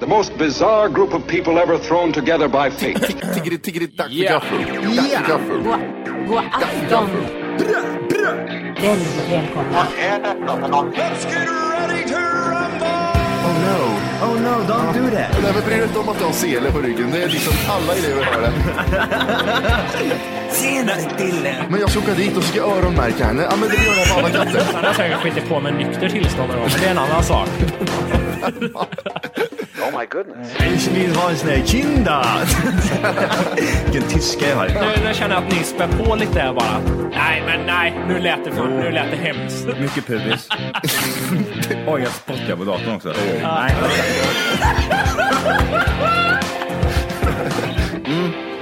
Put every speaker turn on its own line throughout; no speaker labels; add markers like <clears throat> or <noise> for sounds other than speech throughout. The most bizarre group of people ever thrown together by fate. <laughs>
Tiggeri, tiggeri, dack för
Ja.
gaffel. Dack för gaffel.
God, god afton! Väldigt välkomna.
Oh no, oh no, don't do that.
Nej, men bry dig inte om att du har sele på ryggen. Det är liksom alla elever har det.
Tjenare Dille!
Men jag ska åka dit och ska öronmärka henne. Ja, men det gör jag på alla katter.
Han har säkert skitit på med nykter tillstånd då, men det är en annan sak.
Ich vill ha en sån här kinda! <laughs> Vilken tyska jag har.
Nu, nu känner jag att ni spär på lite här bara. Nej, men nej. Nu lät det, för, nu lät det hemskt.
Mycket pubis. Oj, jag spottar på datorn också.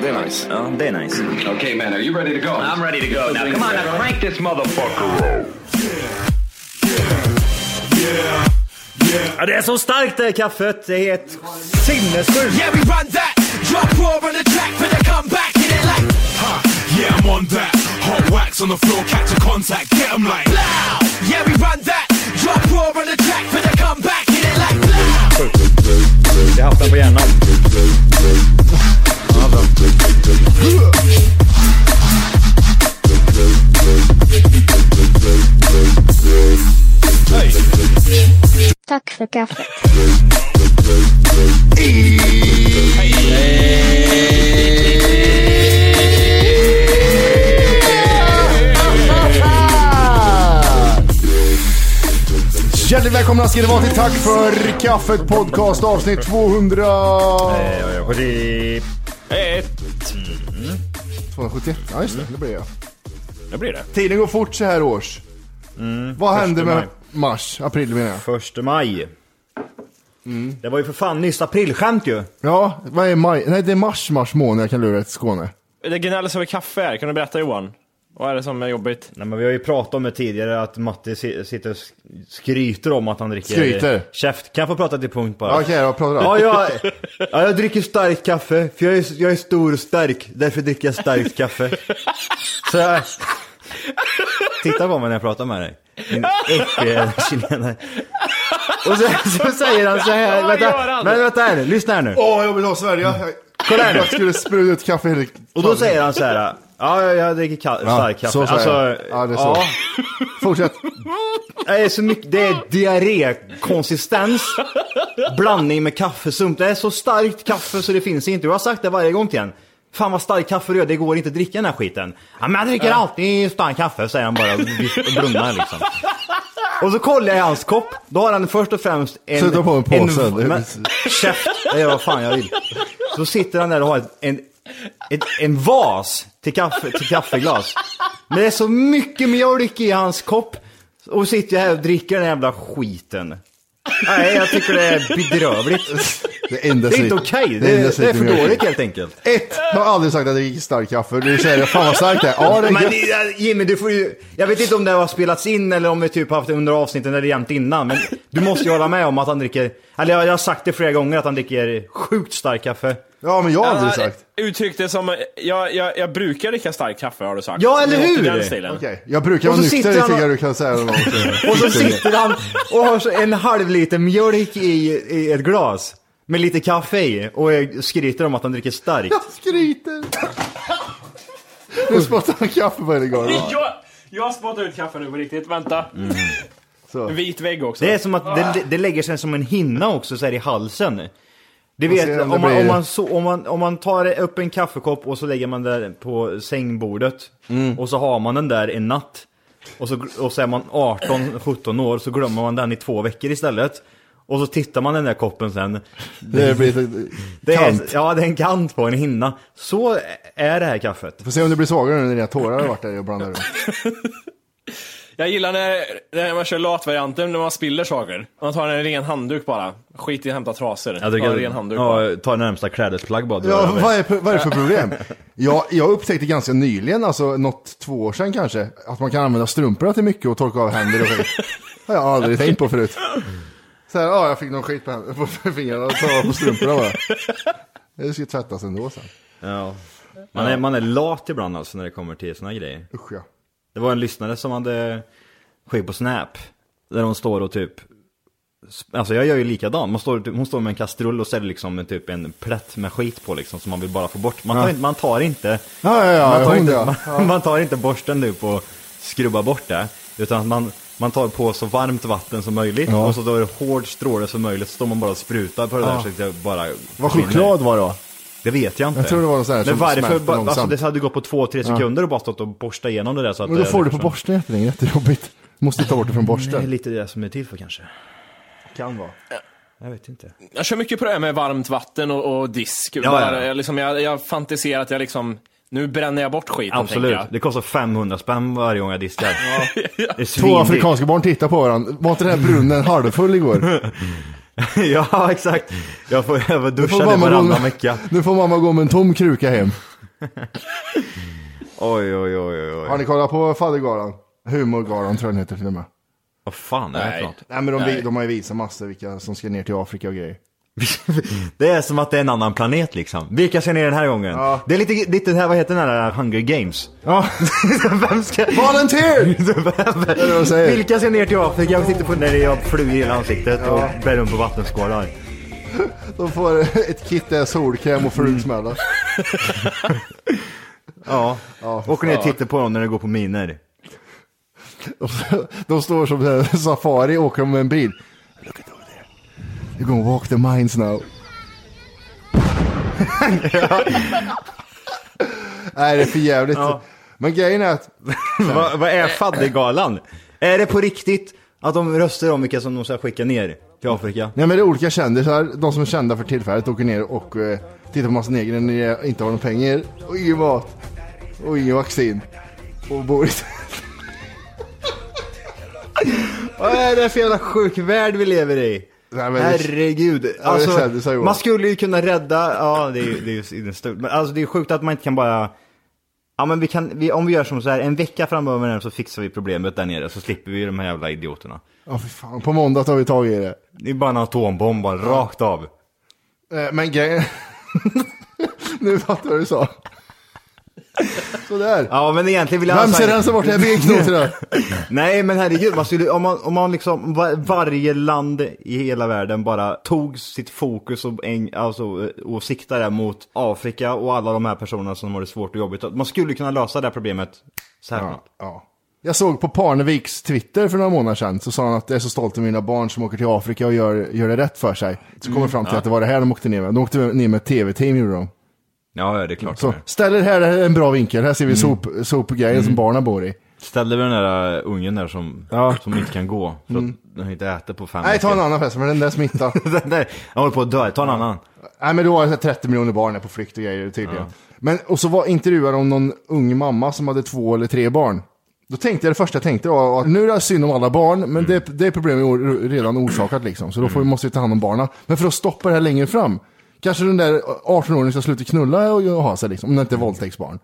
Det är nice.
Ja, det är nice.
Um, okay, man, are you ready to go? I'm ready to go. Now, come on, now crank this motherfucker.
Ja, det är så starkt det här kaffet. Det är helt sinnessjukt.
Yeah, we run that. Drop raw on the track for the comeback. Get it like, huh? Yeah, I'm on that. Hot wax on the floor, catch a contact, get 'em like, blow. Yeah, we run that. Drop raw on the track for the comeback. Get it like, blow.
Jag har haft den på hjärnan.
Tack för kaffet.
Hjärtligt välkomna ska ni vara till Tack för kaffet podcast avsnitt 200...
Eh,
270. Ja, just det. Det blir jag.
Nu blir det.
Tiden går fort så här års. Vad händer med
maj.
mars? April menar jag.
Första maj. Det var ju för fan nyss aprilskämt ju.
Ja, vad är maj? Nej, det är mars, mars månad jag kan lura ett Skåne.
Det gnälls över kaffe här. Kan du berätta Johan? Vad är det som är jobbigt?
Nej men vi har ju pratat om det tidigare att Matti si- sitter och sk- skryter om att han dricker...
Skryter?
Käft. Kan jag få prata till punkt bara?
Ja, Okej då, pratar
Ja,
du.
jag, <laughs> ja, jag dricker starkt kaffe, för jag är, jag är stor och stark, därför dricker jag starkt <laughs> kaffe. Så jag... Titta på mig när jag pratar med dig. Din äckliga chilenare. Och så, så säger han så här, vänta, men vänta här nu, lyssna här nu.
Åh, jag vill ha Sverige.
Kolla här nu.
Jag skulle spruta ut kaffe hela
Och då säger han så här, ja, jag- jag dricker ka- starkt kaffe. Alltså,
så säger han. Ja, det är så.
<laughs>
Fortsätt.
Det är så mycket, det är diarrékonsistens, blandning med kaffesump. Det är så starkt kaffe så det finns inte. Jag har sagt det varje gång till en. Fan vad stark kaffe du gör, det går inte att dricka den här skiten. Ja, men jag dricker alltid stark kaffe, säger han bara och blundar liksom. Och så kollar jag i hans kopp, då har han först och främst en...
Sätta på en påse.
men, käft, jag gör vad fan jag vill. Så sitter han där och har ett, en, ett, en vas till, kaffe, till kaffeglas. Men det är så mycket mjölk i hans kopp. Och sitter jag här och dricker den jävla skiten. Nej, jag tycker det är bedrövligt.
Det enda
Det är inte
sitt-
okej,
det enda
det, är- det är
sitt i
för
mjölken.
dåligt helt enkelt.
Ett, jag har aldrig sagt att jag dricker stark kaffe. Du säger det, fan vad starkt det är. Ja, det är
Men
gött.
eh, Jimmy, du får ju... Jag vet inte om det har spelats in eller om vi typ har haft det under avsnitten eller jämt innan. Men du måste ju hålla med om att han dricker... Eller jag jag har sagt det flera gånger att han dricker sjukt stark kaffe.
Ja, men jag har aldrig sagt.
Uttryck det som, jag, jag, jag brukar dricka stark kaffe har du sagt.
Ja, eller
Något
hur?
i Den stilen.
Okej, jag brukar
Och
vara
så
nykter,
sitter
det
han
tycker jag
och-
du kan säga.
<laughs> Och så sitter han och har så en halv liter mjölk i, i ett glas. Med lite kaffe i och eh, skryter om att han dricker starkt.
Jag skryter. Nu spottar han kaffe på hela golvet.
Jag, jag spottar ut kaffe nu på riktigt, vänta.
Så.
<laughs> Vit vägg också.
Mm. Det är som att det, det lägger sig som en hinna också så här i halsen. Det
Man ser
vet,
om det
om, man,
blir-
om, man så, om, man, om man tar upp en kaffekopp och så lägger man den på sängbordet
Mm.
och så har man den där en natt och så, och så är man 18-17 år så glömmer man den i två veckor istället. Och så tittar man den där koppen sen.
Det blir ett-
Det är,
kant.
ja, det är en kant på en hinna. Så är det här kaffet.
Får se om det blir svagare nu när dina tårar har varit där och blandat runt.
Jag gillar när, när man kör latvarianten, när man spiller saker. Man tar en ren handduk bara. Skit i att hämta trasor.
Jag
ta
tycker-
en ren handduk bara.
ja, ta närmsta klädesplagg bara. dra
Ja,
över.
vad, är, vad är det för problem? Jag, jag upptäckte ganska nyligen, alltså något två år sedan kanske, att man kan använda strumporna till mycket och torka av händer och skit. Det har jag aldrig tänkt på förut. Så här, ja, jag fick någon skit på, händer, på fingrarna och tar av på strumporna bara. Det ska tvättas ändå sen.
Ja. Man, är, man är lat ibland alltså när det kommer till såna grejer.
Usch ja.
Det var en lyssnare som hade skickat på Snap. Där hon står och typ Alltså jag gör ju likadant, man står, typ- hon står med en kastrull och så är det liksom en, typ en plätt med skit på liksom som man vill bara få bort. Man tar
Ja.
inte, man tar inte,
Ja, ja, ja,
man, tar
hon
inte
det, ja.
<laughs> man, man tar inte borsten typ och skrubbar bort det. Utan att man, man tar på så varmt vatten som möjligt
Ja.
och så då är det hård stråle som möjligt så står man bara och sprutar på det där
Ja.
så att det bara
Vad
försvinner.
choklad var det då?
Det vet jag inte.
Jag tror det var någon sån här
Men
som
varför?
smälter
Bara, alltså,
långsamt.
det hade gått på två, tre sekunder och bara stått och borsta igenom det där så att
Men då
det-
får
det
du på
försvann.
borsten jättelänge, jättejobbigt. Måste ta bort det från
Det är
borsten.
lite det som är till för kanske. Kan vara. Jag vet inte.
Jag kör mycket på det här med varmt vatten och, och disk.
ja,
Bara,
ja.
Jag, liksom, jag, jag fantiserar att jag liksom, nu bränner jag bort skiten
Absolut.
tänker
Det kostar 500 spänn varje gång jag diskar. Det är
Två
svindyrt.
afrikanska barn tittar på varandra. Var inte den här brunnen halvfull igår?
<laughs> ja, exakt. Jag får, jag får
Nu
duscha det varannan vecka.
nu får mamma gå med en tom kruka hem.
Oj, oj, oj, oj.
Har
oj.
ni kollat på Faddergalan? Humorgalan tror jag den heter till och med.
Vad fan är det för
Nej.
något?
Nej men de, de har ju visat massor vilka som ska ner till Afrika och grejer.
Det är som att det är en annan planet liksom. Vilka ska ner den här gången? Det är lite, lite det här, vad heter den här eh, Hunger Games?
Ja.
Vem ska...
Volunteer! är <laughs> det de säger.
<laughs> Vilka ser ner till Afrika och sitter på när jag har flugor i hela ansiktet och bär runt på vattenskålar?
De får ett kit där solkräm och flugsmälla.
Ja. Åker ner och tittar på dem när de går på miner.
Och så- De står som en <laughs> safari och åker med en bil. Look at over there. You're gonna walk the mines now. <laughs> Nej det är för jävligt. Men grejen är att
<laughs> Vad vad är faddergalan? Är det på riktigt att de röstar om vilka som de ska skicka ner till Afrika?
Nej men det är olika kändisar, de som är kända för tillfället åker ner och eh, tittar på massa negrer när de inte har några pengar och ingen mat och ingen vaccin och bor i <laughs>
Vad är det för jävla sjuk värld vi lever i?
Nej, men det-
Herregud.
det
Alltså,
kändes så i år.
man skulle ju kunna rädda, ja det är ju, det är ju det är stort. Men alltså det är sjukt att man inte kan bara, ja men vi kan, vi, om vi gör som så här, en vecka framöver nu så fixar vi problemet där nere så slipper vi de här jävla idioterna.
Ja fy fan, på måndag tar vi tag i det.
Det är bara en atombomb bara, rakt av.
Eh, men grejen... <laughs> nu fattar jag vad du sa. Sådär.
Ja men egentligen vill jag
Vem
ha så
ska
här-
rensa bort det här benknotorna?
Nej men herregud, man skulle, om, man, om man liksom va- varje land i hela världen bara tog sitt fokus och, en, alltså, och siktade mot Afrika och alla de här personerna som har det svårt och jobbigt. Man skulle kunna lösa det här problemet så här.
Ja, ja. Jag såg på Parneviks Twitter för några månader sedan, så sa han att jag är så stolt över mina barn som åker till Afrika och gör, gör det rätt för sig. Så
Mm,
kom vi fram till att det var det här de åkte ner med. De åkte ner med ett tv-team gjorde de.
Ja, ja det är klart.
Så ställ er här, det här är en bra vinkel. Här ser vi sop, sopgrejen som barnen bor i.
Ställde vi den där eh, ungen där som,
Ja. Mm.
som inte kan gå för att den inte äter på fem
Nej, ta en annan fest, men den där <laughs> smittar.
den <laughs> där, jag håller på att dö, ta en annan.
Nej, men då var det så här 30 miljoner barn är på flykt och grejer tydligen. Men, och så var intervjuade om någon ung mamma som hade två eller tre barn. Då tänkte jag, det första jag tänkte var att nu är det synd om alla barn, men det, det är problemet or- redan orsakat liksom. Så då får vi, måste vi ta hand om barnen. Men för att stoppa det här längre fram, kanske den där 18-åringen ska sluta knulla och ha sig liksom, om det inte är våldtäktsbarn.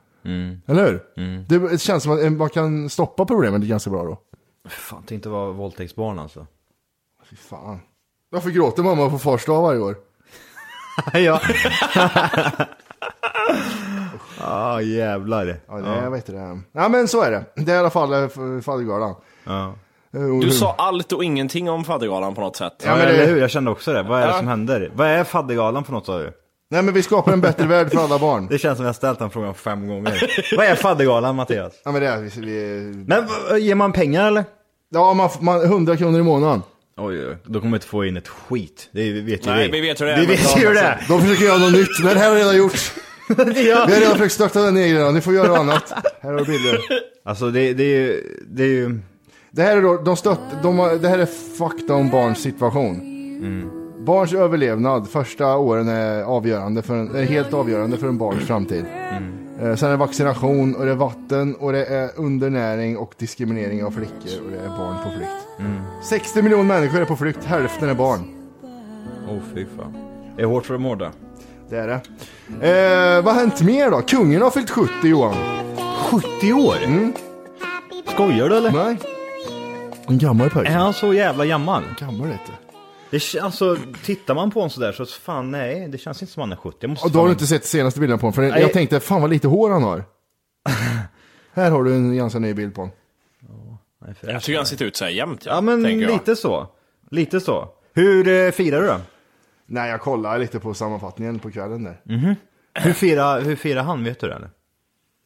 Eller hur? Det känns som att eh, man kan stoppa problemet ganska bra då.
Fan, tänk inte vara
<laughs>
våldtäktsbarn alltså.
Fy fan. Varför gråter mamma på fars dag varje år?
ja. <laughs> ah jävlar.
Ja, det, Jag vet inte det. Ja, men så är det. Det är i alla fall eh, f- faddergalan.
Ja.
jag.
Mm.
Du sa allt och ingenting om faddergalan på något sätt.
Ja,
men det-
eller hur? Jag kände också det. Vad är det
Ja.
som händer? Vad är faddergalan för något sa du?
Nej, men vi skapar en bättre värld för alla <laughs> barn.
Det känns som jag har ställt den frågan
<laughs>
fem gånger. Vad är faddergalan Mattias?
Ja, men det är vi... vi
Men v- ger man pengar eller?
Ja, man, f- man, 100 kronor i månaden.
Oj, oj, oj. då kommer vi inte få in ett skit. Det vet ju
Nej,
vi.
vi vet hur det är,
Vi
men
vet
ja,
ju hur det
alltså.
är.
De försöker göra något nytt, men det här har jag redan gjort. <laughs> Vi har redan försökt starta den egna, ni får göra något annat. Här har du bilder.
Alltså det, det är ju... Det är ju...
Det här är då, de stött, de har, det här är fakta om barns situation. Barns överlevnad första åren är, avgörande för en, är helt avgörande för en barns framtid. Eh, sen är det vaccination och det är vatten och det är undernäring och diskriminering av flickor och det är barn på flykt. 60 miljoner människor är på flykt, hälften är barn.
Åh fy fan. Det är hårt för de hårda.
Det är det. Eh, vad har hänt mer då? Kungen har fyllt 70 Johan.
70 år?
Mm.
Skojar du eller?
Nej. En gammal pojke.
Är han så jävla gammal?
Gammal vet du.
Det, k- alltså, tittar man på honom sådär så fan nej, det känns inte som han är 70. Jag måste
Och då har
fan-
du inte sett senaste bilden på honom, för den-
Nej.
jag tänkte fan vad lite hår han <laughs> har. Här har du en ganska ny bild på honom.
Jag tycker han sitter ut så här jämt.
Ja men
tänker jag.
lite så. Lite så. Hur eh, firar du då?
Nej, jag kollar lite på sammanfattningen på kvällen där.
Hur firar, hur firar han, vet du det eller?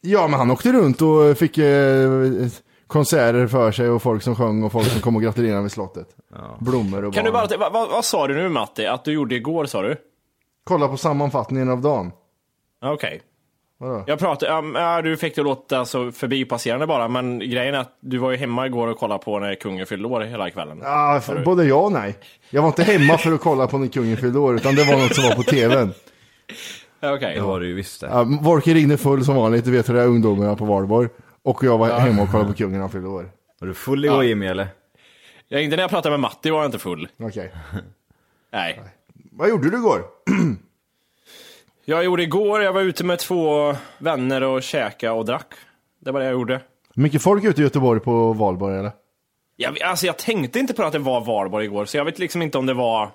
Ja, men han åkte runt och fick eh, konserter för sig och folk som sjöng och folk som kom och gratulerade vid slottet. Blommor och
Kan du
barn.
bara, vad, vad, vad sa du nu Matti? Att du gjorde igår sa du?
Kolla på sammanfattningen av dagen.
Ja, Okej.
Vadå?
Jag pratade, um, ja, du fick det att låta så förbipasserande bara, men grejen är att du var ju hemma igår och kollade på när kungen fyllde år hela kvällen.
Ah, för- både ja och nej. Jag var inte hemma för att kolla på när kungen fyllde år, utan det var något som var på tvn.
Ja, Okej.
var det ju visst det.
Ja, Volker ringde full som vanligt, du vet hur det är ungdomarna på valborg. Och jag var hemma och kollade på kungen när han fyllde år.
Var du full igår Jimmy eller?
Ja, inte när jag pratade med Matti var jag inte full.
Okej.
Nej.
Vad gjorde du igår?
Jag gjorde igår, jag var ute med två vänner och käka och drack. Det var det jag gjorde.
Mycket folk ute i Göteborg på valborg eller?
Jag, alltså jag tänkte inte på att det var Valborg igår, så jag vet liksom inte om det var...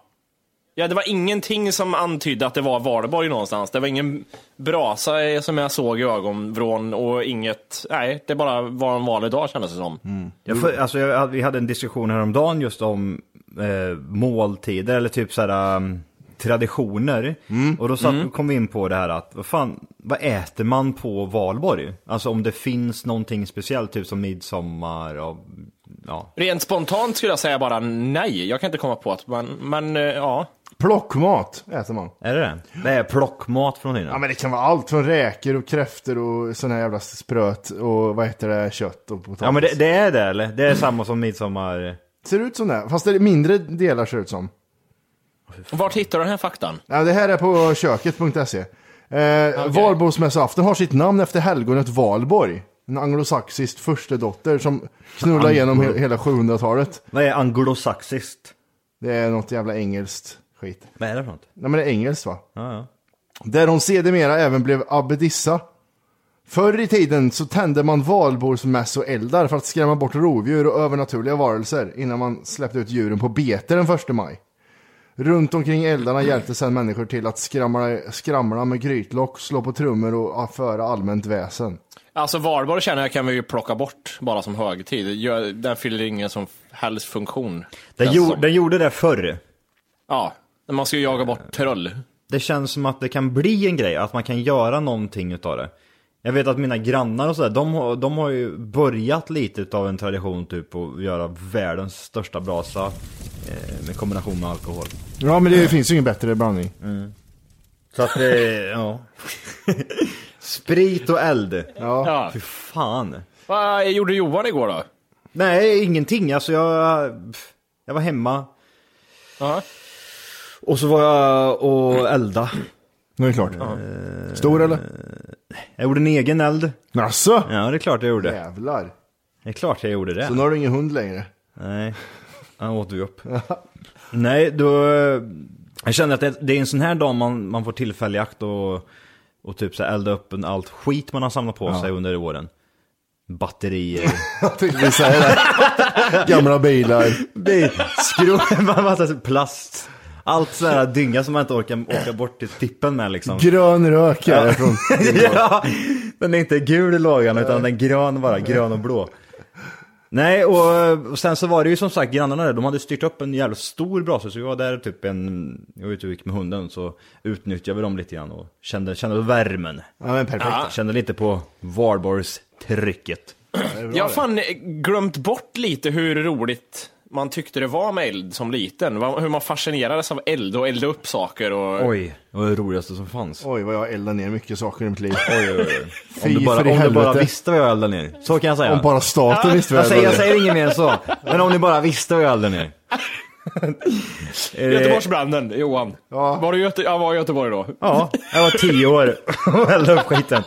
Ja, det var ingenting som antydde att det var Valborg någonstans. Det var ingen brasa eh, som jag såg i ögonvrån och inget... Nej, det bara var en vanlig dag kändes det som.
Jag, får- alltså, jag, hade- vi hade en diskussion häromdagen just om eh, måltider eller typ såhär um, traditioner. Och då satt, kom vi in på det här att vad fan, vad äter man på valborg? Alltså om det finns någonting speciellt, typ som midsommar och ja.
Rent spontant skulle jag säga bara nej. Jag kan inte komma på att man... Men eh, ja.
Plockmat äter man.
Är det det? Det är plockmat från
Ja
tiden.
men det kan vara allt från räkor och kräftor och sån här jävla spröt och vad heter det, kött och potatis.
Ja men det, det är det eller? Det är samma som midsommar...
Ser ut som det, fast det är mindre delar ser ut som.
Vart hittar du den här faktan?
Ja, det här är på köket.se. Eh, Valborgsmässoafton har sitt namn efter helgonet Valborg. En anglosaxisk furstedotter som knullar igenom he- hela 700-talet.
Vad är anglosaxiskt?
Det är något jävla engelskt skit.
Vad är det för något?
Nej men det är engelskt va?
Ja, ja.
Där hon sedermera även blev abbedissa. Förr i tiden så tände man valborgsmässoeldar för att skrämma bort rovdjur och övernaturliga varelser innan man släppte ut djuren på bete den 1 maj. Runt omkring eldarna hjälpte sedan människor till att skramla, skramla med grytlock, slå på trummor och föra allmänt väsen.
Alltså Valborg känner jag kan vi ju plocka bort bara som högtid. Gör- Den fyller ingen som helst funktion.
Den,
känns
gjorde-
som.
den gjorde det förr.
Ja, när man ska jaga bort troll.
Det känns som att det kan bli en grej, att man kan göra någonting utav det. Jag vet att mina grannar och sådär, de, har- de har ju börjat lite utav en tradition typ att göra världens största brasa eh, med kombination med alkohol.
Ja men det finns ju ingen bättre blandning.
Så att det, ja. <laughs> Sprit och eld.
Ja.
Ja.
Fy fan.
Vad gjorde Johan igår då?
Nej, ingenting. Alltså jag, jag var hemma
Ja.
och så var jag och elda.
Nu är det klart. Stor eller?
Jag gjorde en egen eld.
Jaså?
Ja, det är klart jag gjorde.
Jävlar.
Det är klart jag gjorde det.
Så nu har du ingen hund längre.
Nej, han åt du upp. Nej, då... eh, Jag känner att det, det är en sån här dag man, man får tillfällig akt och, och typ så här elda upp en allt skit man har samlat på sig under åren. Batterier,
Jag tänkte <laughs> vi säger det. <laughs> Gamla bilar.
bil, skrot, <laughs> vad- vad- alltså, plast. Allt så här dynga som man inte orkar åka bort till tippen med liksom.
Grön rök är det
<laughs>
från
ja, den är inte gul i lagan utan den är grön bara, grön och blå. Nej, och, och sen så var det ju som sagt grannarna där, de hade styrt upp en jävla stor brasa så vi var där typ en, jag var ute och gick med hunden så utnyttjade vi dem lite grann och kände, kände värmen.
Ja men perfekt.
Kände lite på valborgstrycket.
Jag har fan glömt bort lite hur roligt man tyckte det var med eld som liten. Va- Hur man fascinerades av eld och elda upp saker. Och...
Oj,
det var det roligaste som fanns.
Oj, vad jag eldar ner mycket saker i mitt liv.
Oj, oj, oj.
Fy
Om du bara,
för i
om du bara
helvete.
visste vad jag eldade ner. Så kan jag säga.
Om bara staten visste vad
jag
jag
säger. Jag
eldade ner.
säger inget mer än så. Men om ni bara visste vad jag eldade ner.
Göteborgsbranden, Johan. Var du i Göte- ja, var i Göteborg då?
Ja, jag var tio år och eldade upp skiten.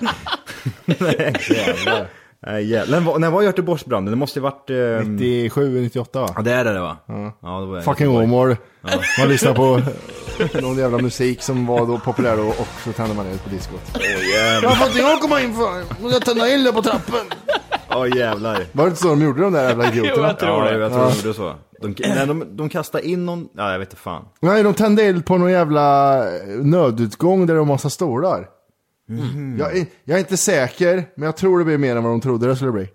Nej, jävlar. Nej, jävlar. När var- När var Göteborgsbranden? Det måste ju varit... ehm,
97, 98 va?
Ja, det är det det, va? Ja, det var jag.
Fucking Åmål. Man lyssnar på någon jävla musik som var då populär då och så tänder man eld på diskot.
Jag får inte
jag komma in för. Men jag tänder eld på trappen.
Åh jävlar.
Var det inte så de gjorde de där jävla idioterna?
ja, jag tror de gjorde så. <clears throat> De, nej, de, de kastade in någon... Ja, jag vet inte fan.
Nej, de tände eld på någon jävla eh, nödutgång där det var massa stolar. Jag, är- jag är inte säker, men jag tror det blir mer än vad de trodde det skulle bli.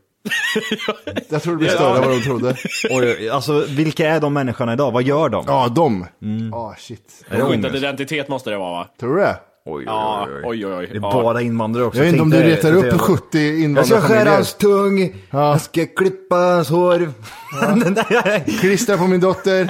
jag tror det blir större än vad de trodde.
Oj, alltså vilka är de människorna idag? Vad gör de?
Ja, de. Ah, shit.
Är det
Skyddad
ångest?
identitet måste det vara va?
Tror du det?
Oj,
Ja, oj, oj, oj.
Det är bara invandrare också.
Jag vet inte om du
Tänkte-
retar upp
tänkte-
70
Jag ska skära
invandrarfamiljer.
hans tung, jag ska klippa hans hår. <laughs>
Klistra på min dotter.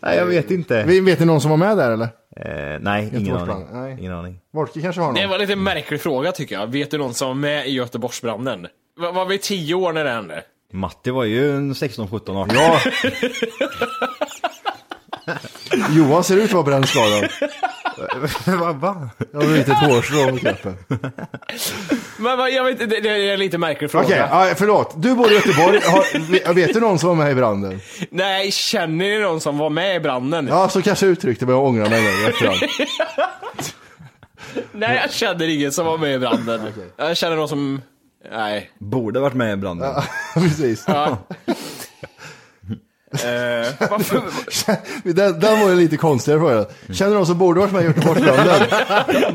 Nej, jag vet inte.
Vi, vet ni någon som var med där eller?
Eh, nej, ingen aning.
Göteborgsbrand, nej.
Ingen aning.
Volke kanske har någon?
Det var en lite märklig fråga tycker jag. Vet du någon som var med i Göteborgsbranden? Var, var vi tio år när det hände?
Matti var ju en 16, 17, 18.
Ja. Johan ser ut att vara brännskadad.
Vad <laughs> va?
Jag har inte ett hårstrå på kroppen.
Men vad- jag vet inte, det- det är en lite märklig fråga.
Okej, okay, förlåt. Du bor i Göteborg. Har, vet du någon som var med i branden?
Nej, känner ni någon som var med i branden?
Ja, så kanske jag uttryckte mig och ångrar mig nu i efterhand.
Nej, jag känner ingen som var med
<laughs>
i branden. Jag känner någon som... Nej.
Borde varit med i branden.
Precis. <laughs>
Ja. Eh, varför,
<laughs> Den, den var ju lite konstigare fråga. Känner du någon som borde varit med i Göteborgsbranden?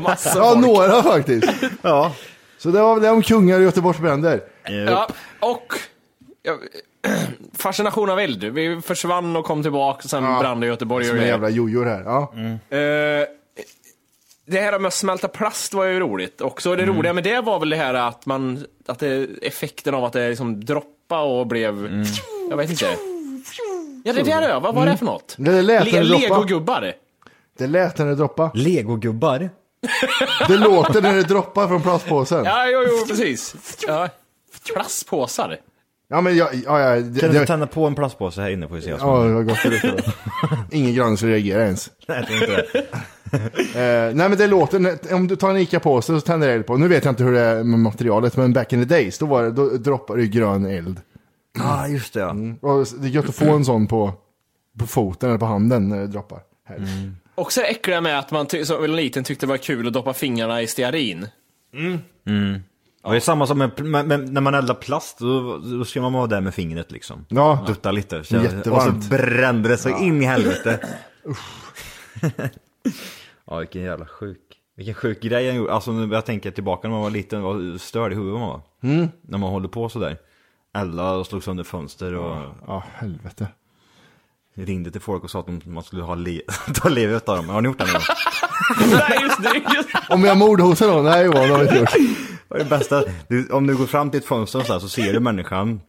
<laughs> massa
Ja,
folk.
några faktiskt. Ja. Så det var väl det om kungar och Göteborgsbränder.
Ja, och ja, <clears throat> fascination av eld. Vi försvann och kom tillbaka och sen brann det i Göteborg.
Som
Och
är
det.
jävla jojor här. Ja.
Eh, det här med att smälta plast var ju roligt också. Det
Mm.
roliga med det var väl det här att man, att det, effekten av att det liksom droppade och blev,
Mm.
jag vet inte. Ja, det där ja. Vad var det för något?
Det där lät när det droppade.
Legogubbar.
Det lät när det droppade.
Legogubbar?
Det låter när det droppar från plastpåsen.
Ja, jo, jo, precis. Ja. Plastpåsar.
Ja, men jag... Ja, ja, det,
Kan du
det,
tända på en plastpåse här inne får vi se vad som
ja,
händer.
det var gott det luktade.
<laughs>
Ingen granne skulle reagera ens.
Nej, jag tror inte det.
Eh, nej men det låter, när- om du tar en ICA-påse och tänder eld på, nu vet jag inte hur det är med materialet, men back in the days, då, var det, då droppade det grön eld.
Ja, just det ja.
Och det är gött att få en sån på, på foten eller på handen när det droppar. Här.
Mm.
Också det äckliga med att man ty- som liten tyckte det var kul att doppa fingrarna i stearin.
Och det är samma som med, med, med, när man eldar plast, då, då ska man vara där med fingret liksom.
Ja.
Dutta lite. och så
Jättevarmt.
brände det så in
<laughs>
i helvete. ja, vilken jävla sjuk. Vilken sjuk grej han gjorde. Alltså nu, jag tänker tillbaka när man var liten, vad störd i huvudet man var.
Mm.
När man håller på sådär. Elda och slog sönder fönster och
Ja, helvete.
ringde till folk och sa att de- man skulle ha li- <laughs> ta livet av dem. Har ni gjort det någon gång?
<laughs> Nej, just det. Just.
Om jag mordhotar någon? Nej Johan, det har jag inte gjort.
Och det bästa, du, om du går fram till ett fönster och så, här, så ser du människan.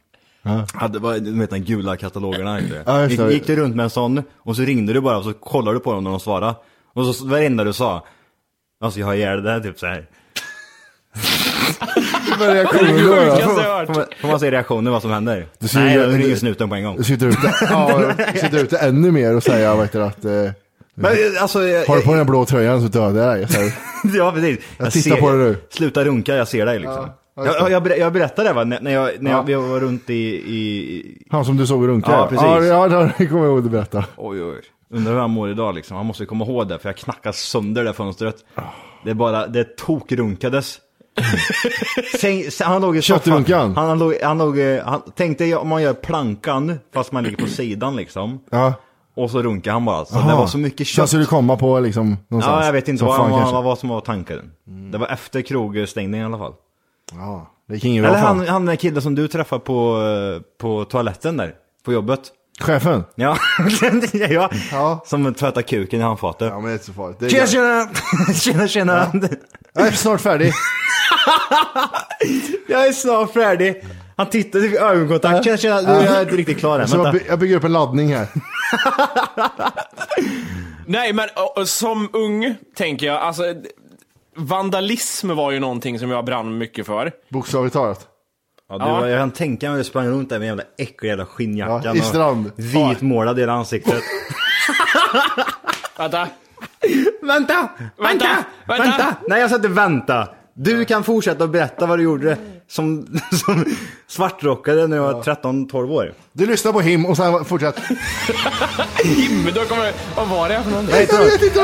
Hade, vad- du vet de gula katalogerna inte?
Ja, just det.
gick, gick du runt med en sån och så ringde du bara och så kollade du på dem när de svarade. Och så varenda du sa, alltså jag har ihjäl det här typ så här.
Vad är reaktionen då?
Får
då?
man- får man- Får man se reaktionen vad som händer?
Du ser
Nej,
ju-
jag ringer snuten på en gång.
Du sitter ute, ja, du sitter ute ännu mer och säger vet du, att eh,
Men, eh, alltså, jag-
har du på den här blå tröjan så dödar jag dig. Så här.
<laughs> ja, precis.
Jag tittar på dig nu.
Sluta runka, jag ser dig liksom.
Ja, just det.
jag, jag, ber- jag berättade det va, när, när, jag, när
Ja.
jag, vi var runt i, i...
Han som du såg runka.
Ja, precis.
Ja, ja, det- det kommer jag ihåg att berätta.
Oj, oj. Undrar hur han mår idag liksom. Han måste komma ihåg det, för jag knackade sönder det fönstret.
Ah.
Det är bara,
<laughs>
det tokrunkades. Säng, sen- han låg i soffan.
Köttrunkan?
Han, han, låg, han, låg, eh, han tänkte jag- om man gör plankan, fast man ligger på sidan liksom.
Ja.
Och så runkar han bara. Så
Aha.
det var så mycket
Sen
kött.
skulle du komma på liksom någonstans.
Ja, jag vet inte
Som
vad,
fan
vad,
kanske. Mm.
vad, som var tanken. Det var efter krogstängningen i alla fall.
Ja, det gick ingen bra
Eller
för
han,
honom.
han den killen som du träffade på, eh, på toaletten där, på jobbet.
Chefen?
Ja, <laughs> ja. som tvättar kuken i handfatet. Ja,
men det är inte så farligt.
Tjena, tjena! <laughs> tjena, tjena!
Jag är snart <laughs> färdig.
jag är snart färdig. Han tittade i ögonkontakt. Tjena, tjena! Du, jag är inte riktigt klar än.
Så jag,
Vänta.
by- jag bygger upp en laddning här. <laughs>
Nej, men ö, ö, som ung tänker jag, alltså d- vandalism var ju någonting som jag brann mycket för.
Bokstavligt talat.
Ja, du, var- Jag kan tänka mig att du sprang runt där med en jävla äcklig jävla skinnjackan.
Ja, i strand.
Och vitmålad i hela ansiktet.
Vänta.
<laughs> Vänta! Vänta! Vänta! Nej, jag sa inte vänta. Du kan fortsätta att berätta vad du gjorde som, <laughs> som svartrockare när jag var 13-12 år.
Du lyssnar på him och sen
<laughs>
fortsätt.
Himmel, då kommer Vad var det för någonting?
Nej, jag vet inte. Det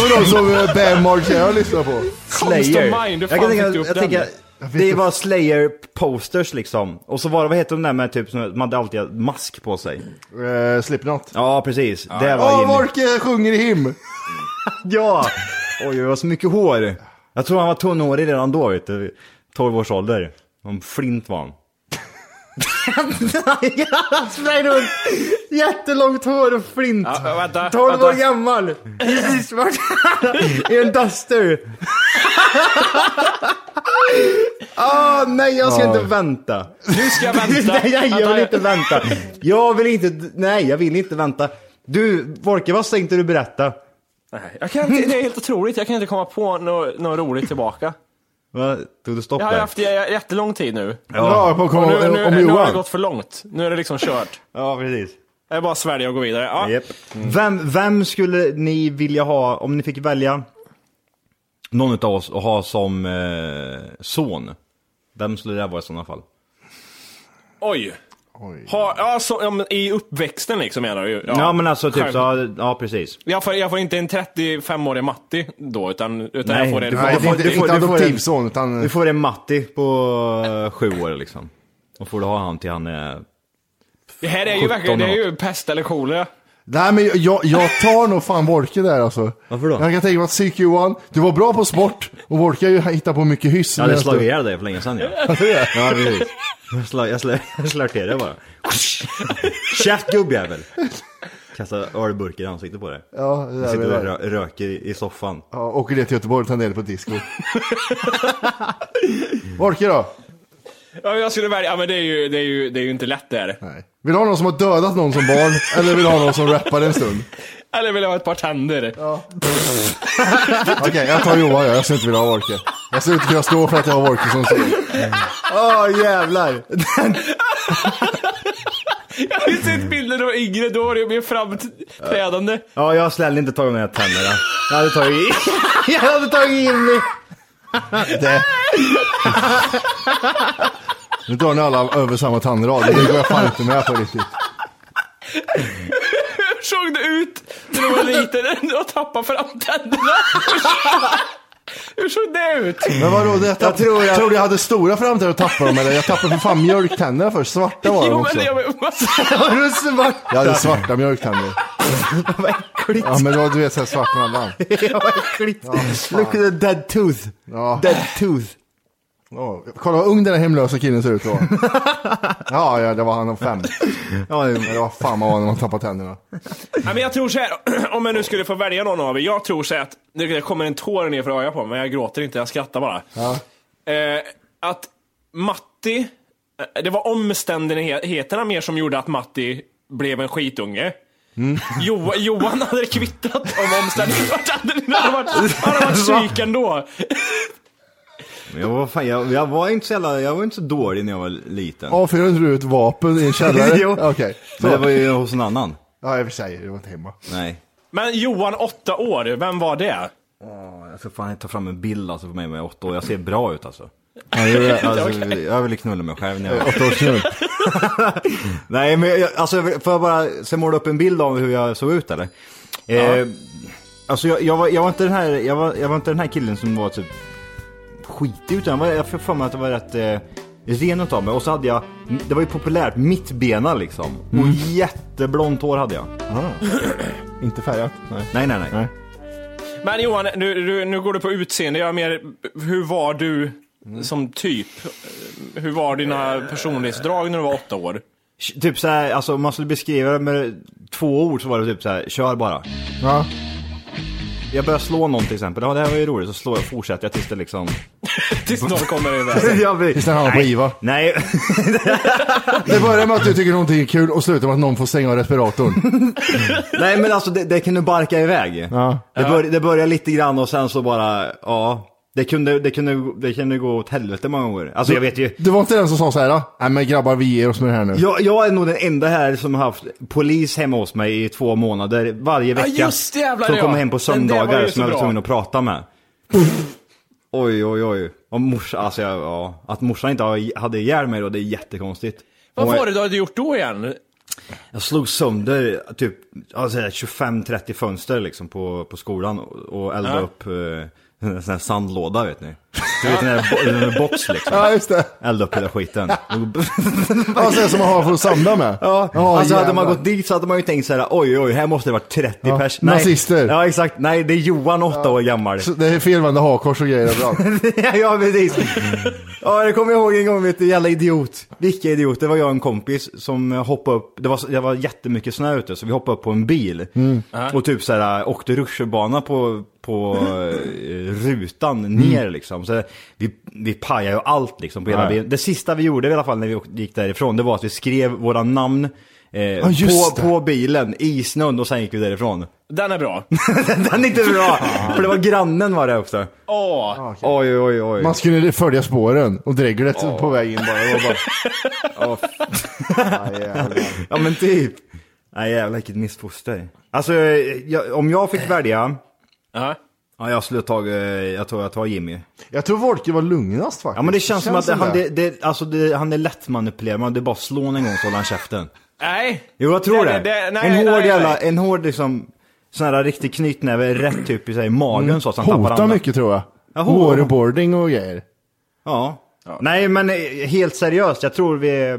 var de som eh, Bam Margera lyssnade på.
Slayer.
Mind,
jag
hur fan
kan tänka,
fick du upp
jag
den?
tänker, det var Slayer-posters liksom. Och så var det, vad heter de där med typ, som man hade alltid hade mask på sig?
Uh, Slipknot.
Ja, precis. Det var
Åh,
in-
Morke sjunger i him.
Ja! <laughs> Oj, det var så mycket hår. Jag tror han var tunnhårig redan då, vet du. 12 års ålder. Någon flint var han. Han sprang runt. <laughs> Jättelångt hår och flint.
Ja, vänta,
12
vänta.
år gammal. Precis svart. <laughs> I en duster. <laughs> Ah, nej, jag ska
Ja.
inte vänta.
Nu ska jag <laughs>
<laughs>
vänta.
nej, jag,
Vänta,
vill inte vänta. Jag vill inte, nej, jag vill inte vänta. Du, Volke, vad tänkte du berätta?
Nej, jag kan inte, det är helt otroligt, jag kan inte komma på något nå roligt tillbaka.
Va? Tog du stopp
Jag har
där?
haft j- jättelång tid nu.
Bra på att
Och
komma
nu, nu,
om
nu har det
Johan.
gått för långt. Nu är det liksom kört.
Ja, precis.
Det är bara Sverige och gå vidare. Ja.
Japp. Vem, vem skulle ni vilja ha, om ni fick välja någon av oss att ha som eh, son? Vem skulle det vara i sådana fall?
Oj. Ha, ja, så, ja, men I uppväxten liksom menar du ju.
Ja, men alltså typ så, ja, ja precis.
Jag får, jag får inte en 35-årig Matti då, utan, utan
Nej,
jag får en...
du
Nej, det är inte,
Du får-
inte
du får en-
adoptivson utan...
Du får en Matti på eh, sju år liksom. Och får du ha han till han är...
Det här är ju verkligen, det är ju pest eller kolera.
Nej men jag, jag tar nog fan Wolke där alltså.
Varför då?
Jag kan tänka mig att psyk Johan, du var bra på sport och Wolke har ju hittat på mycket hyss.
Jag hade
medan
slagit
du-
ihjäl dig för länge sedan <laughs> ja. ja precis. Jag slår jag slår- jag slår till dig <laughs> bara. Käft gubbjävel! Kasta ölburkar i ansiktet på dig.
Ja, det
Jag
där
sitter
blir
och
bra.
rö- röker i i soffan.
Ja, åker ner till Göteborg och tar ner det på disco. <laughs> Wolke då?
Ja, jag skulle välja, ja men det är ju, det är ju, det är ju inte lätt det här.
Nej. Vill du ha någon som har dödat någon som barn? eller vill du ha någon som rappar en stund?
Eller vill jag ha ett par tänder?
Okej, jag tar Johan jag, jag skulle inte vilja ha Wolke. Jag skulle inte kunna stå för att jag har Wolke som son.
Åh jävlar!
<laughs> Jag har ju sett bilder av yngre, då var det ju mer framträdande.
Ja, jag har snäll inte tagit mina tänder. ja. Jag hade tagit <laughs> Jag hade tagit Jimmy!
Det... Nu drar ni alla över samma tandrad, det går jag fan inte med på riktigt.
Hur såg det ut när du
<laughs>
var liten och tappade framtänderna? Hur såg det ut?
Men vadå, det jag, tapp, tror jag... Tror du jag hade stora framtänder och tappade dem eller? Jag tappade för fan mjölktänderna först, svarta <laughs> var de
Jo,
också.
men jag,
Jag...
men, vad-
Har du svart?
hade svarta mjölktänder.
Vad äckligt!
Ja men det var du vet såhär svart mellan.
<laughs> Ja, Vad äckligt! Look at the dead tooth!
Ja.
Dead tooth!
Ja, Kolla vad ung den här hemlösa killen ser ut <laughs> då. Ja, ja det var han om fem.
Ja, det-
Det var fan man var när man tappade tänderna.
Ja, men jag tror så här, <clears throat> om jag nu skulle få välja någon av er, jag tror så här att, nu det kommer en tår ner för ögat på mig, men jag gråter inte, jag skrattar bara. Eh, att Matti, eh, det var omständigheterna mer som gjorde att Matti blev en skitunge. <laughs> Jo, Johan hade kvittrat om omständigheterna varit- hade varit- hade varit psyk ändå.
Men jag var, fan, jag, jag var inte så jävla, jag var inte så dålig när jag var liten.
Avfyrade inte du ett vapen i en <laughs> källare?
<laughs> Jo.
Okej.
Men det var ju hos en annan.
Ja, i och för sig. Det var inte hemma.
Nej.
Men Johan, åtta år, vem var det?
Åh, jag ska fan ta fram en bild alltså på mig med åtta år. Jag ser bra ut alltså.
Ja, det är-
alltså
okej.
Jag ville knulla mig själv när jag var
Åtta års knull.
<laughs> Nej men jag, alltså jag vill- får jag bara, sen måla upp en bild av hur jag såg ut eller? Eh, alltså jag, jag, var, jag var inte den här, jag var, jag var inte den här killen som var typ skitig utan jag var- jag fick för mig att jag var rätt eh, ren utav mig och så hade jag, det var ju populärt, mittbena liksom.
Mm.
Och jätteblont hår hade jag.
inte färgat? Nej.
Nej nej nej.
Men Johan, nu, nu, nu går du på utseende. Jag är mer, hur var du
Mm.
som typ? Hur var dina personlighetsdrag när du var åtta år?
Typ såhär, alltså om man skulle beskriva det med två ord så var det typ såhär, kör bara.
Ja.
Jag börjar slå någon till exempel, ja det här var ju roligt, så slår jag, fortsätter jag tills det liksom...
tills någon kommer
<laughs>
iväg.
jag blir...
Tills den hamnar på IVA.
Nej. <laughs>
Det börjar med att du tycker någonting är kul och slutar med att någon får stänga av respiratorn.
Nej men alltså det, det kunde barka iväg.
Ja.
Det, bör, det började lite grann och sen så bara, ja. Det kunde, det kunde, det kunde gå åt helvete många gånger. Alltså jag vet ju.
Du var inte den som sa så här, "Ah, nej men grabbar vi ger oss med det här nu.
Jag, jag är nog den enda här som har haft polis hemma hos mig i två månader varje
Ja,
vecka.
just det, jävlar,
som
ja.
kommer hem på
Den där var
söndagar
ju så
som jag var
bra.
tvungen att prata
<laughs>
med. oj, oj, oj. Och mors, alltså jag, ja, att morsan inte har- hade ihjäl mig då, det är jättekonstigt.
Vad
Hon-
var det du hade gjort då igen?
Jag slog sönder typ alltså, 25-30 fönster liksom på, på skolan och, och eldade
Ja.
upp eh, <laughs> en sån här sandlåda vet ni. Du vet den här bo- den här box liksom.
Ja, just <laughs> det.
Eldade upp hela skiten. Och-
Alltså som man har för att samla med.
Ja,
Ja,
alltså hade
jävlar.
man gått dit så hade man ju tänkt såhär, oj oj, här måste det varit 30
Ja,
pers.
nazister.
Ja exakt, nej det är Johan, 8 år gammal.
Så det är felvända hakkors och grejer överallt.
<laughs> ja precis.
Mm.
Ja, det kommer jag ihåg en gång, vet du, jävla idiot. Vilka idiot, det var jag och en kompis som hoppade upp, det var, det var jättemycket snö ute så vi hoppade upp på en bil.
Mm.
Och typ såhär åkte rutschbana på,
<laughs>
på eh, rutan ner liksom. Så vi, vi pajade ju allt liksom på hela
Mm. Ja.
bilen. Det sista vi gjorde i alla fall när vi åkte- gick därifrån, det var att vi skrev våra namn eh,
just
på,
det.
på bilen i snön och sen gick vi därifrån. <laughs>
Den är bra.
Den är inte bra! För det var grannen var det också.
Åh,
Oj oj oj.
Man skulle följa spåren och dreglet på väg in bara. Det var bara...
Ja men typ. Nej jävlar vilket missfoster. Alltså jag, om jag fick välja.
Ja.
Ja jag skulle ta, eh, jag tror jag tar Jimmy.
Jag tror Wolke var lugnast faktiskt.
Ja men det känns, som att han, det,
det.
det, alltså, det, han är lättmanipulerad, det är bara att slå en gång så håller han käften.
nej.
Jo jag tror det.
nej,
en hård
nej,
jävla,
nej.
en hård liksom, sån här riktig knytnäve rätt typ i sig, magen så att han tappar
Hotar
andan.
mycket tror jag.
Ja, ho-
Waterboarding och grejer.
Ja. Nej men eh, helt seriöst, jag tror vi,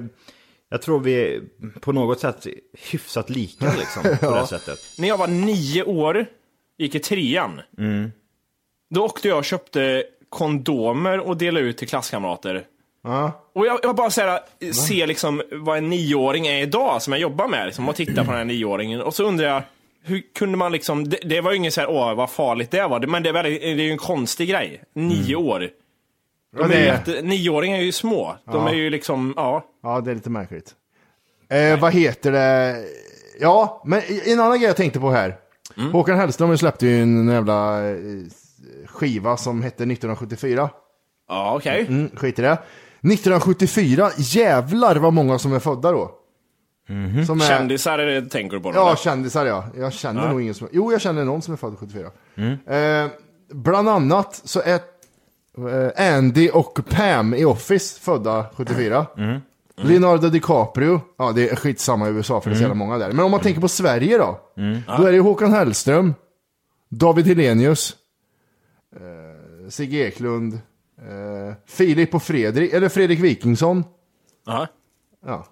jag tror vi på något sätt hyfsat lika liksom på det här sättet.
När jag var nio år, gick i trean.
Mm.
Då åkte jag och köpte kondomer och delade ut till klasskamrater. Och jag, jag bara så här, ser liksom vad en nioåring är idag, som jag jobbar med. Liksom, och tittar på den här nioåringen. Och så undrar jag, hur kunde man liksom... Det, det var ju inget så här, åh vad farligt det var. Men det är, väldigt, det är ju en konstig grej. Nio år. De är
Mm. det
ju
är-
jätte, nioåringar är ju små. De är ju liksom, ja.
Ja, det är lite märkligt. Eh, vad heter det? Ja, men en annan grej jag tänkte på här.
Mm.
Håkan Hellström släppte ju en jävla eh, skiva som hette 1974.
Ja, okej.
Mm, skit i det. 1974, jävlar vad många som är födda då. Som är,
Kändisar är det, tänker du på?
Mm. Ja,
Ja.
kändisar ja. Jag känner nog ingen som... Jo, jag känner någon som är född 74. Eh, bland annat så är eh, Andy och Pam i Office födda 74. Leonardo DiCaprio, ja det är skitsamma i USA för det är så jävla många där. Men om man tänker på Sverige då. Då är det ju Håkan Hellström, David Helenius, eh, Sigge Eklund, eh, Filip och Fredrik, eller Fredrik Wikingsson.
Ja.
Ja.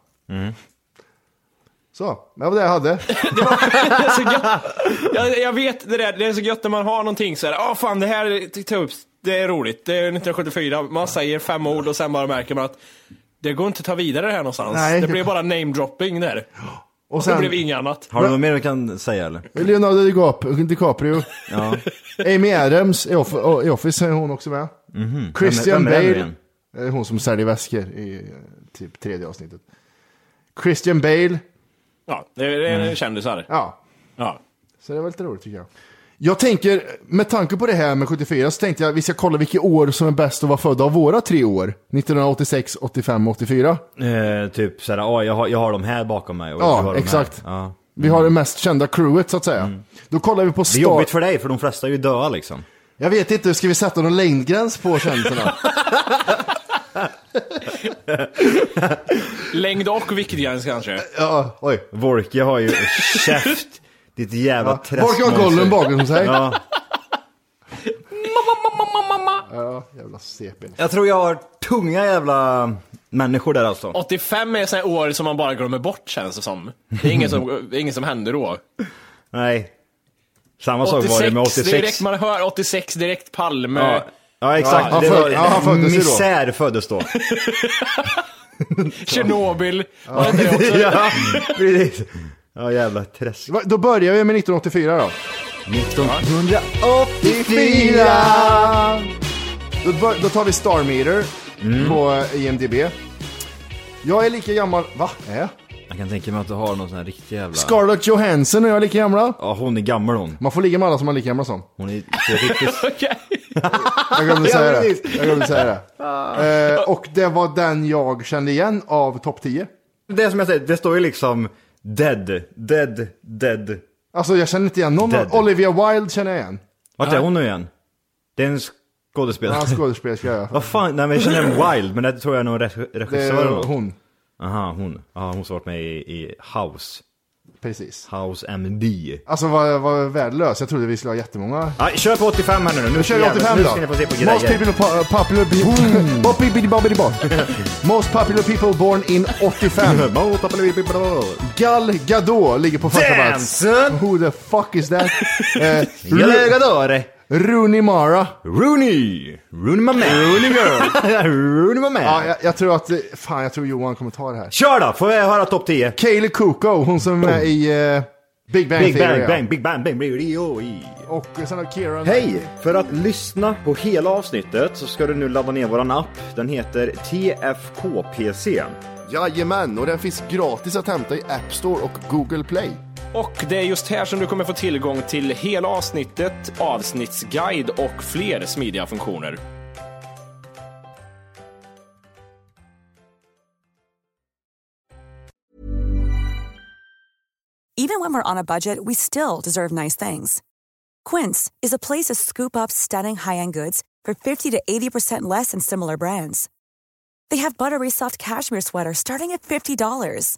Så, det var det jag hade.
Det är så gött. Jag, jag vet det där, det är så gött när man har någonting så här. ja fan det här t- ta upp, det är roligt, det är 1974, man säger fem ord och sen bara märker man att det går inte att ta vidare det här någonstans.
Nej,
det
det-
blev bara namedropping där. Och
sen-
Det blev inget annat.
Har du något mer du kan säga eller?
Leonardo DiCap- DiCaprio. Amy Adams i, off i Office är hon också med. Christian
Mhm. Vem är- vem är det
Bale.
igen?
Det är eh, hon som säljer väskor i eh, typ tredje avsnittet. Christian Bale.
Ja, det är det är
Mm.
kändisar.
Ja.
ja.
Så det var lite roligt tycker jag. Jag tänker, med tanke på det här med 74, så tänkte jag vi ska kolla vilka år som är bäst att vara född av våra tre år. 1986, 85, 84.
Eh, typ såhär, ja jag har, jag har de här bakom mig. Och
Ja,
jag har de här.
exakt.
Ja.
Vi har det mest kända crewet så att säga. Då kollar vi på
Mm. Det
Star...
är jobbigt för dig, för de flesta är ju döda liksom.
Jag vet inte, ska vi sätta någon längdgräns på
<laughs>
kändisarna?
Längd och viktgräns kanske.
ja, oj.
Volke har ju käft. Ditt jävla
Ja,
träskmonster.
Volke har Gollum bakom sig.
Ja.
Ja, jävla CP.
Jag tror jag har tunga jävla människor där alltså.
85 är sådana år som man bara glömmer bort känns det som. Det är inget som, det är inget som händer då.
Nej. Samma sak var det med 86.
direkt man hör 86 direkt Palme.
Ja, ja exakt.
Ja, han
det
föd-
var,
ja, han föddes ju då.
misär
<laughs>
föddes då.
Tjernobyl. Var det inte det
<laughs>
också?
ja, Mm. precis. Ja jävla träsk.
Va, Då börjar vi med 1984 då.
1984!
Då, bör- då tar vi Star Meter på eh, IMDB. Jag är lika gammal... Va? Är jag?
Jag kan tänka mig att du har någon sån här riktig jävla...
Scarlett Johansson och jag är lika gamla.
Ja hon är gammal hon.
Man får ligga med alla som man är lika gamla som.
Hon är så riktigt...
Okej.
<laughs> Jag glömde säga
Ja,
det.
precis.
Jag glömde <laughs> säga det. Eh, och det var den jag kände igen av topp 10.
Det är som jag säger, det står ju liksom dead, dead, dead.
Alltså jag känner inte igen någon.
Dead.
Olivia Wilde känner jag igen.
Vart är hon nu igen? Det är en skådespelare.
<laughs> Ja, skådespelerska är jag.
Vad fan, nej men jag känner igen Wild, men det tror jag är någon reg-
Det
regissör eller
är
något.
Eh, hon.
Aha, hon. Ja, hon som varit med i, i House.
Precis.
House MD.
Alltså vad, vad värdelös. Jag trodde vi skulle ha jättemånga.
Nej, kör på 85 här nu
Nu kör vi 85
nu
då.
ska ni få se på
Most
grejer. Mm.
people po- popular people... <laughs>
<laughs>
Most popular people born in 85. Gal Gadot ligger på första plats.
Dansen!
Who the fuck
<laughs>
is that? Eh, Ru-
Galagadore!
Rooney Mara.
Rooney! Rooney my man! Rooney girl! Rooney my man!
Ja, jag, jag tror att... eh, Fan, jag tror Johan kommer ta det här.
Kör då! Får jag höra topp 10?
Kaeli Kuko, hon som är med i eh, Big Bang
Oh. Big
Theory.
bang,
ja.
bang, big bang, bang, bang, bang,
Och eh, sen har Kieran...
Hej! För att lyssna på hela avsnittet så ska du nu ladda ner våran app. Den heter TFKPC.
Jajamän, och den finns gratis att hämta i App Store och Google Play.
Och det är just här som du kommer få tillgång till hela avsnittet, avsnittsguide och fler smidiga funktioner.
Even when we're on a budget, we still deserve nice things. Quince is a place to scoop up stunning high-end goods for 50 to 80% less than similar brands. They have buttery soft cashmere sweaters starting at $50,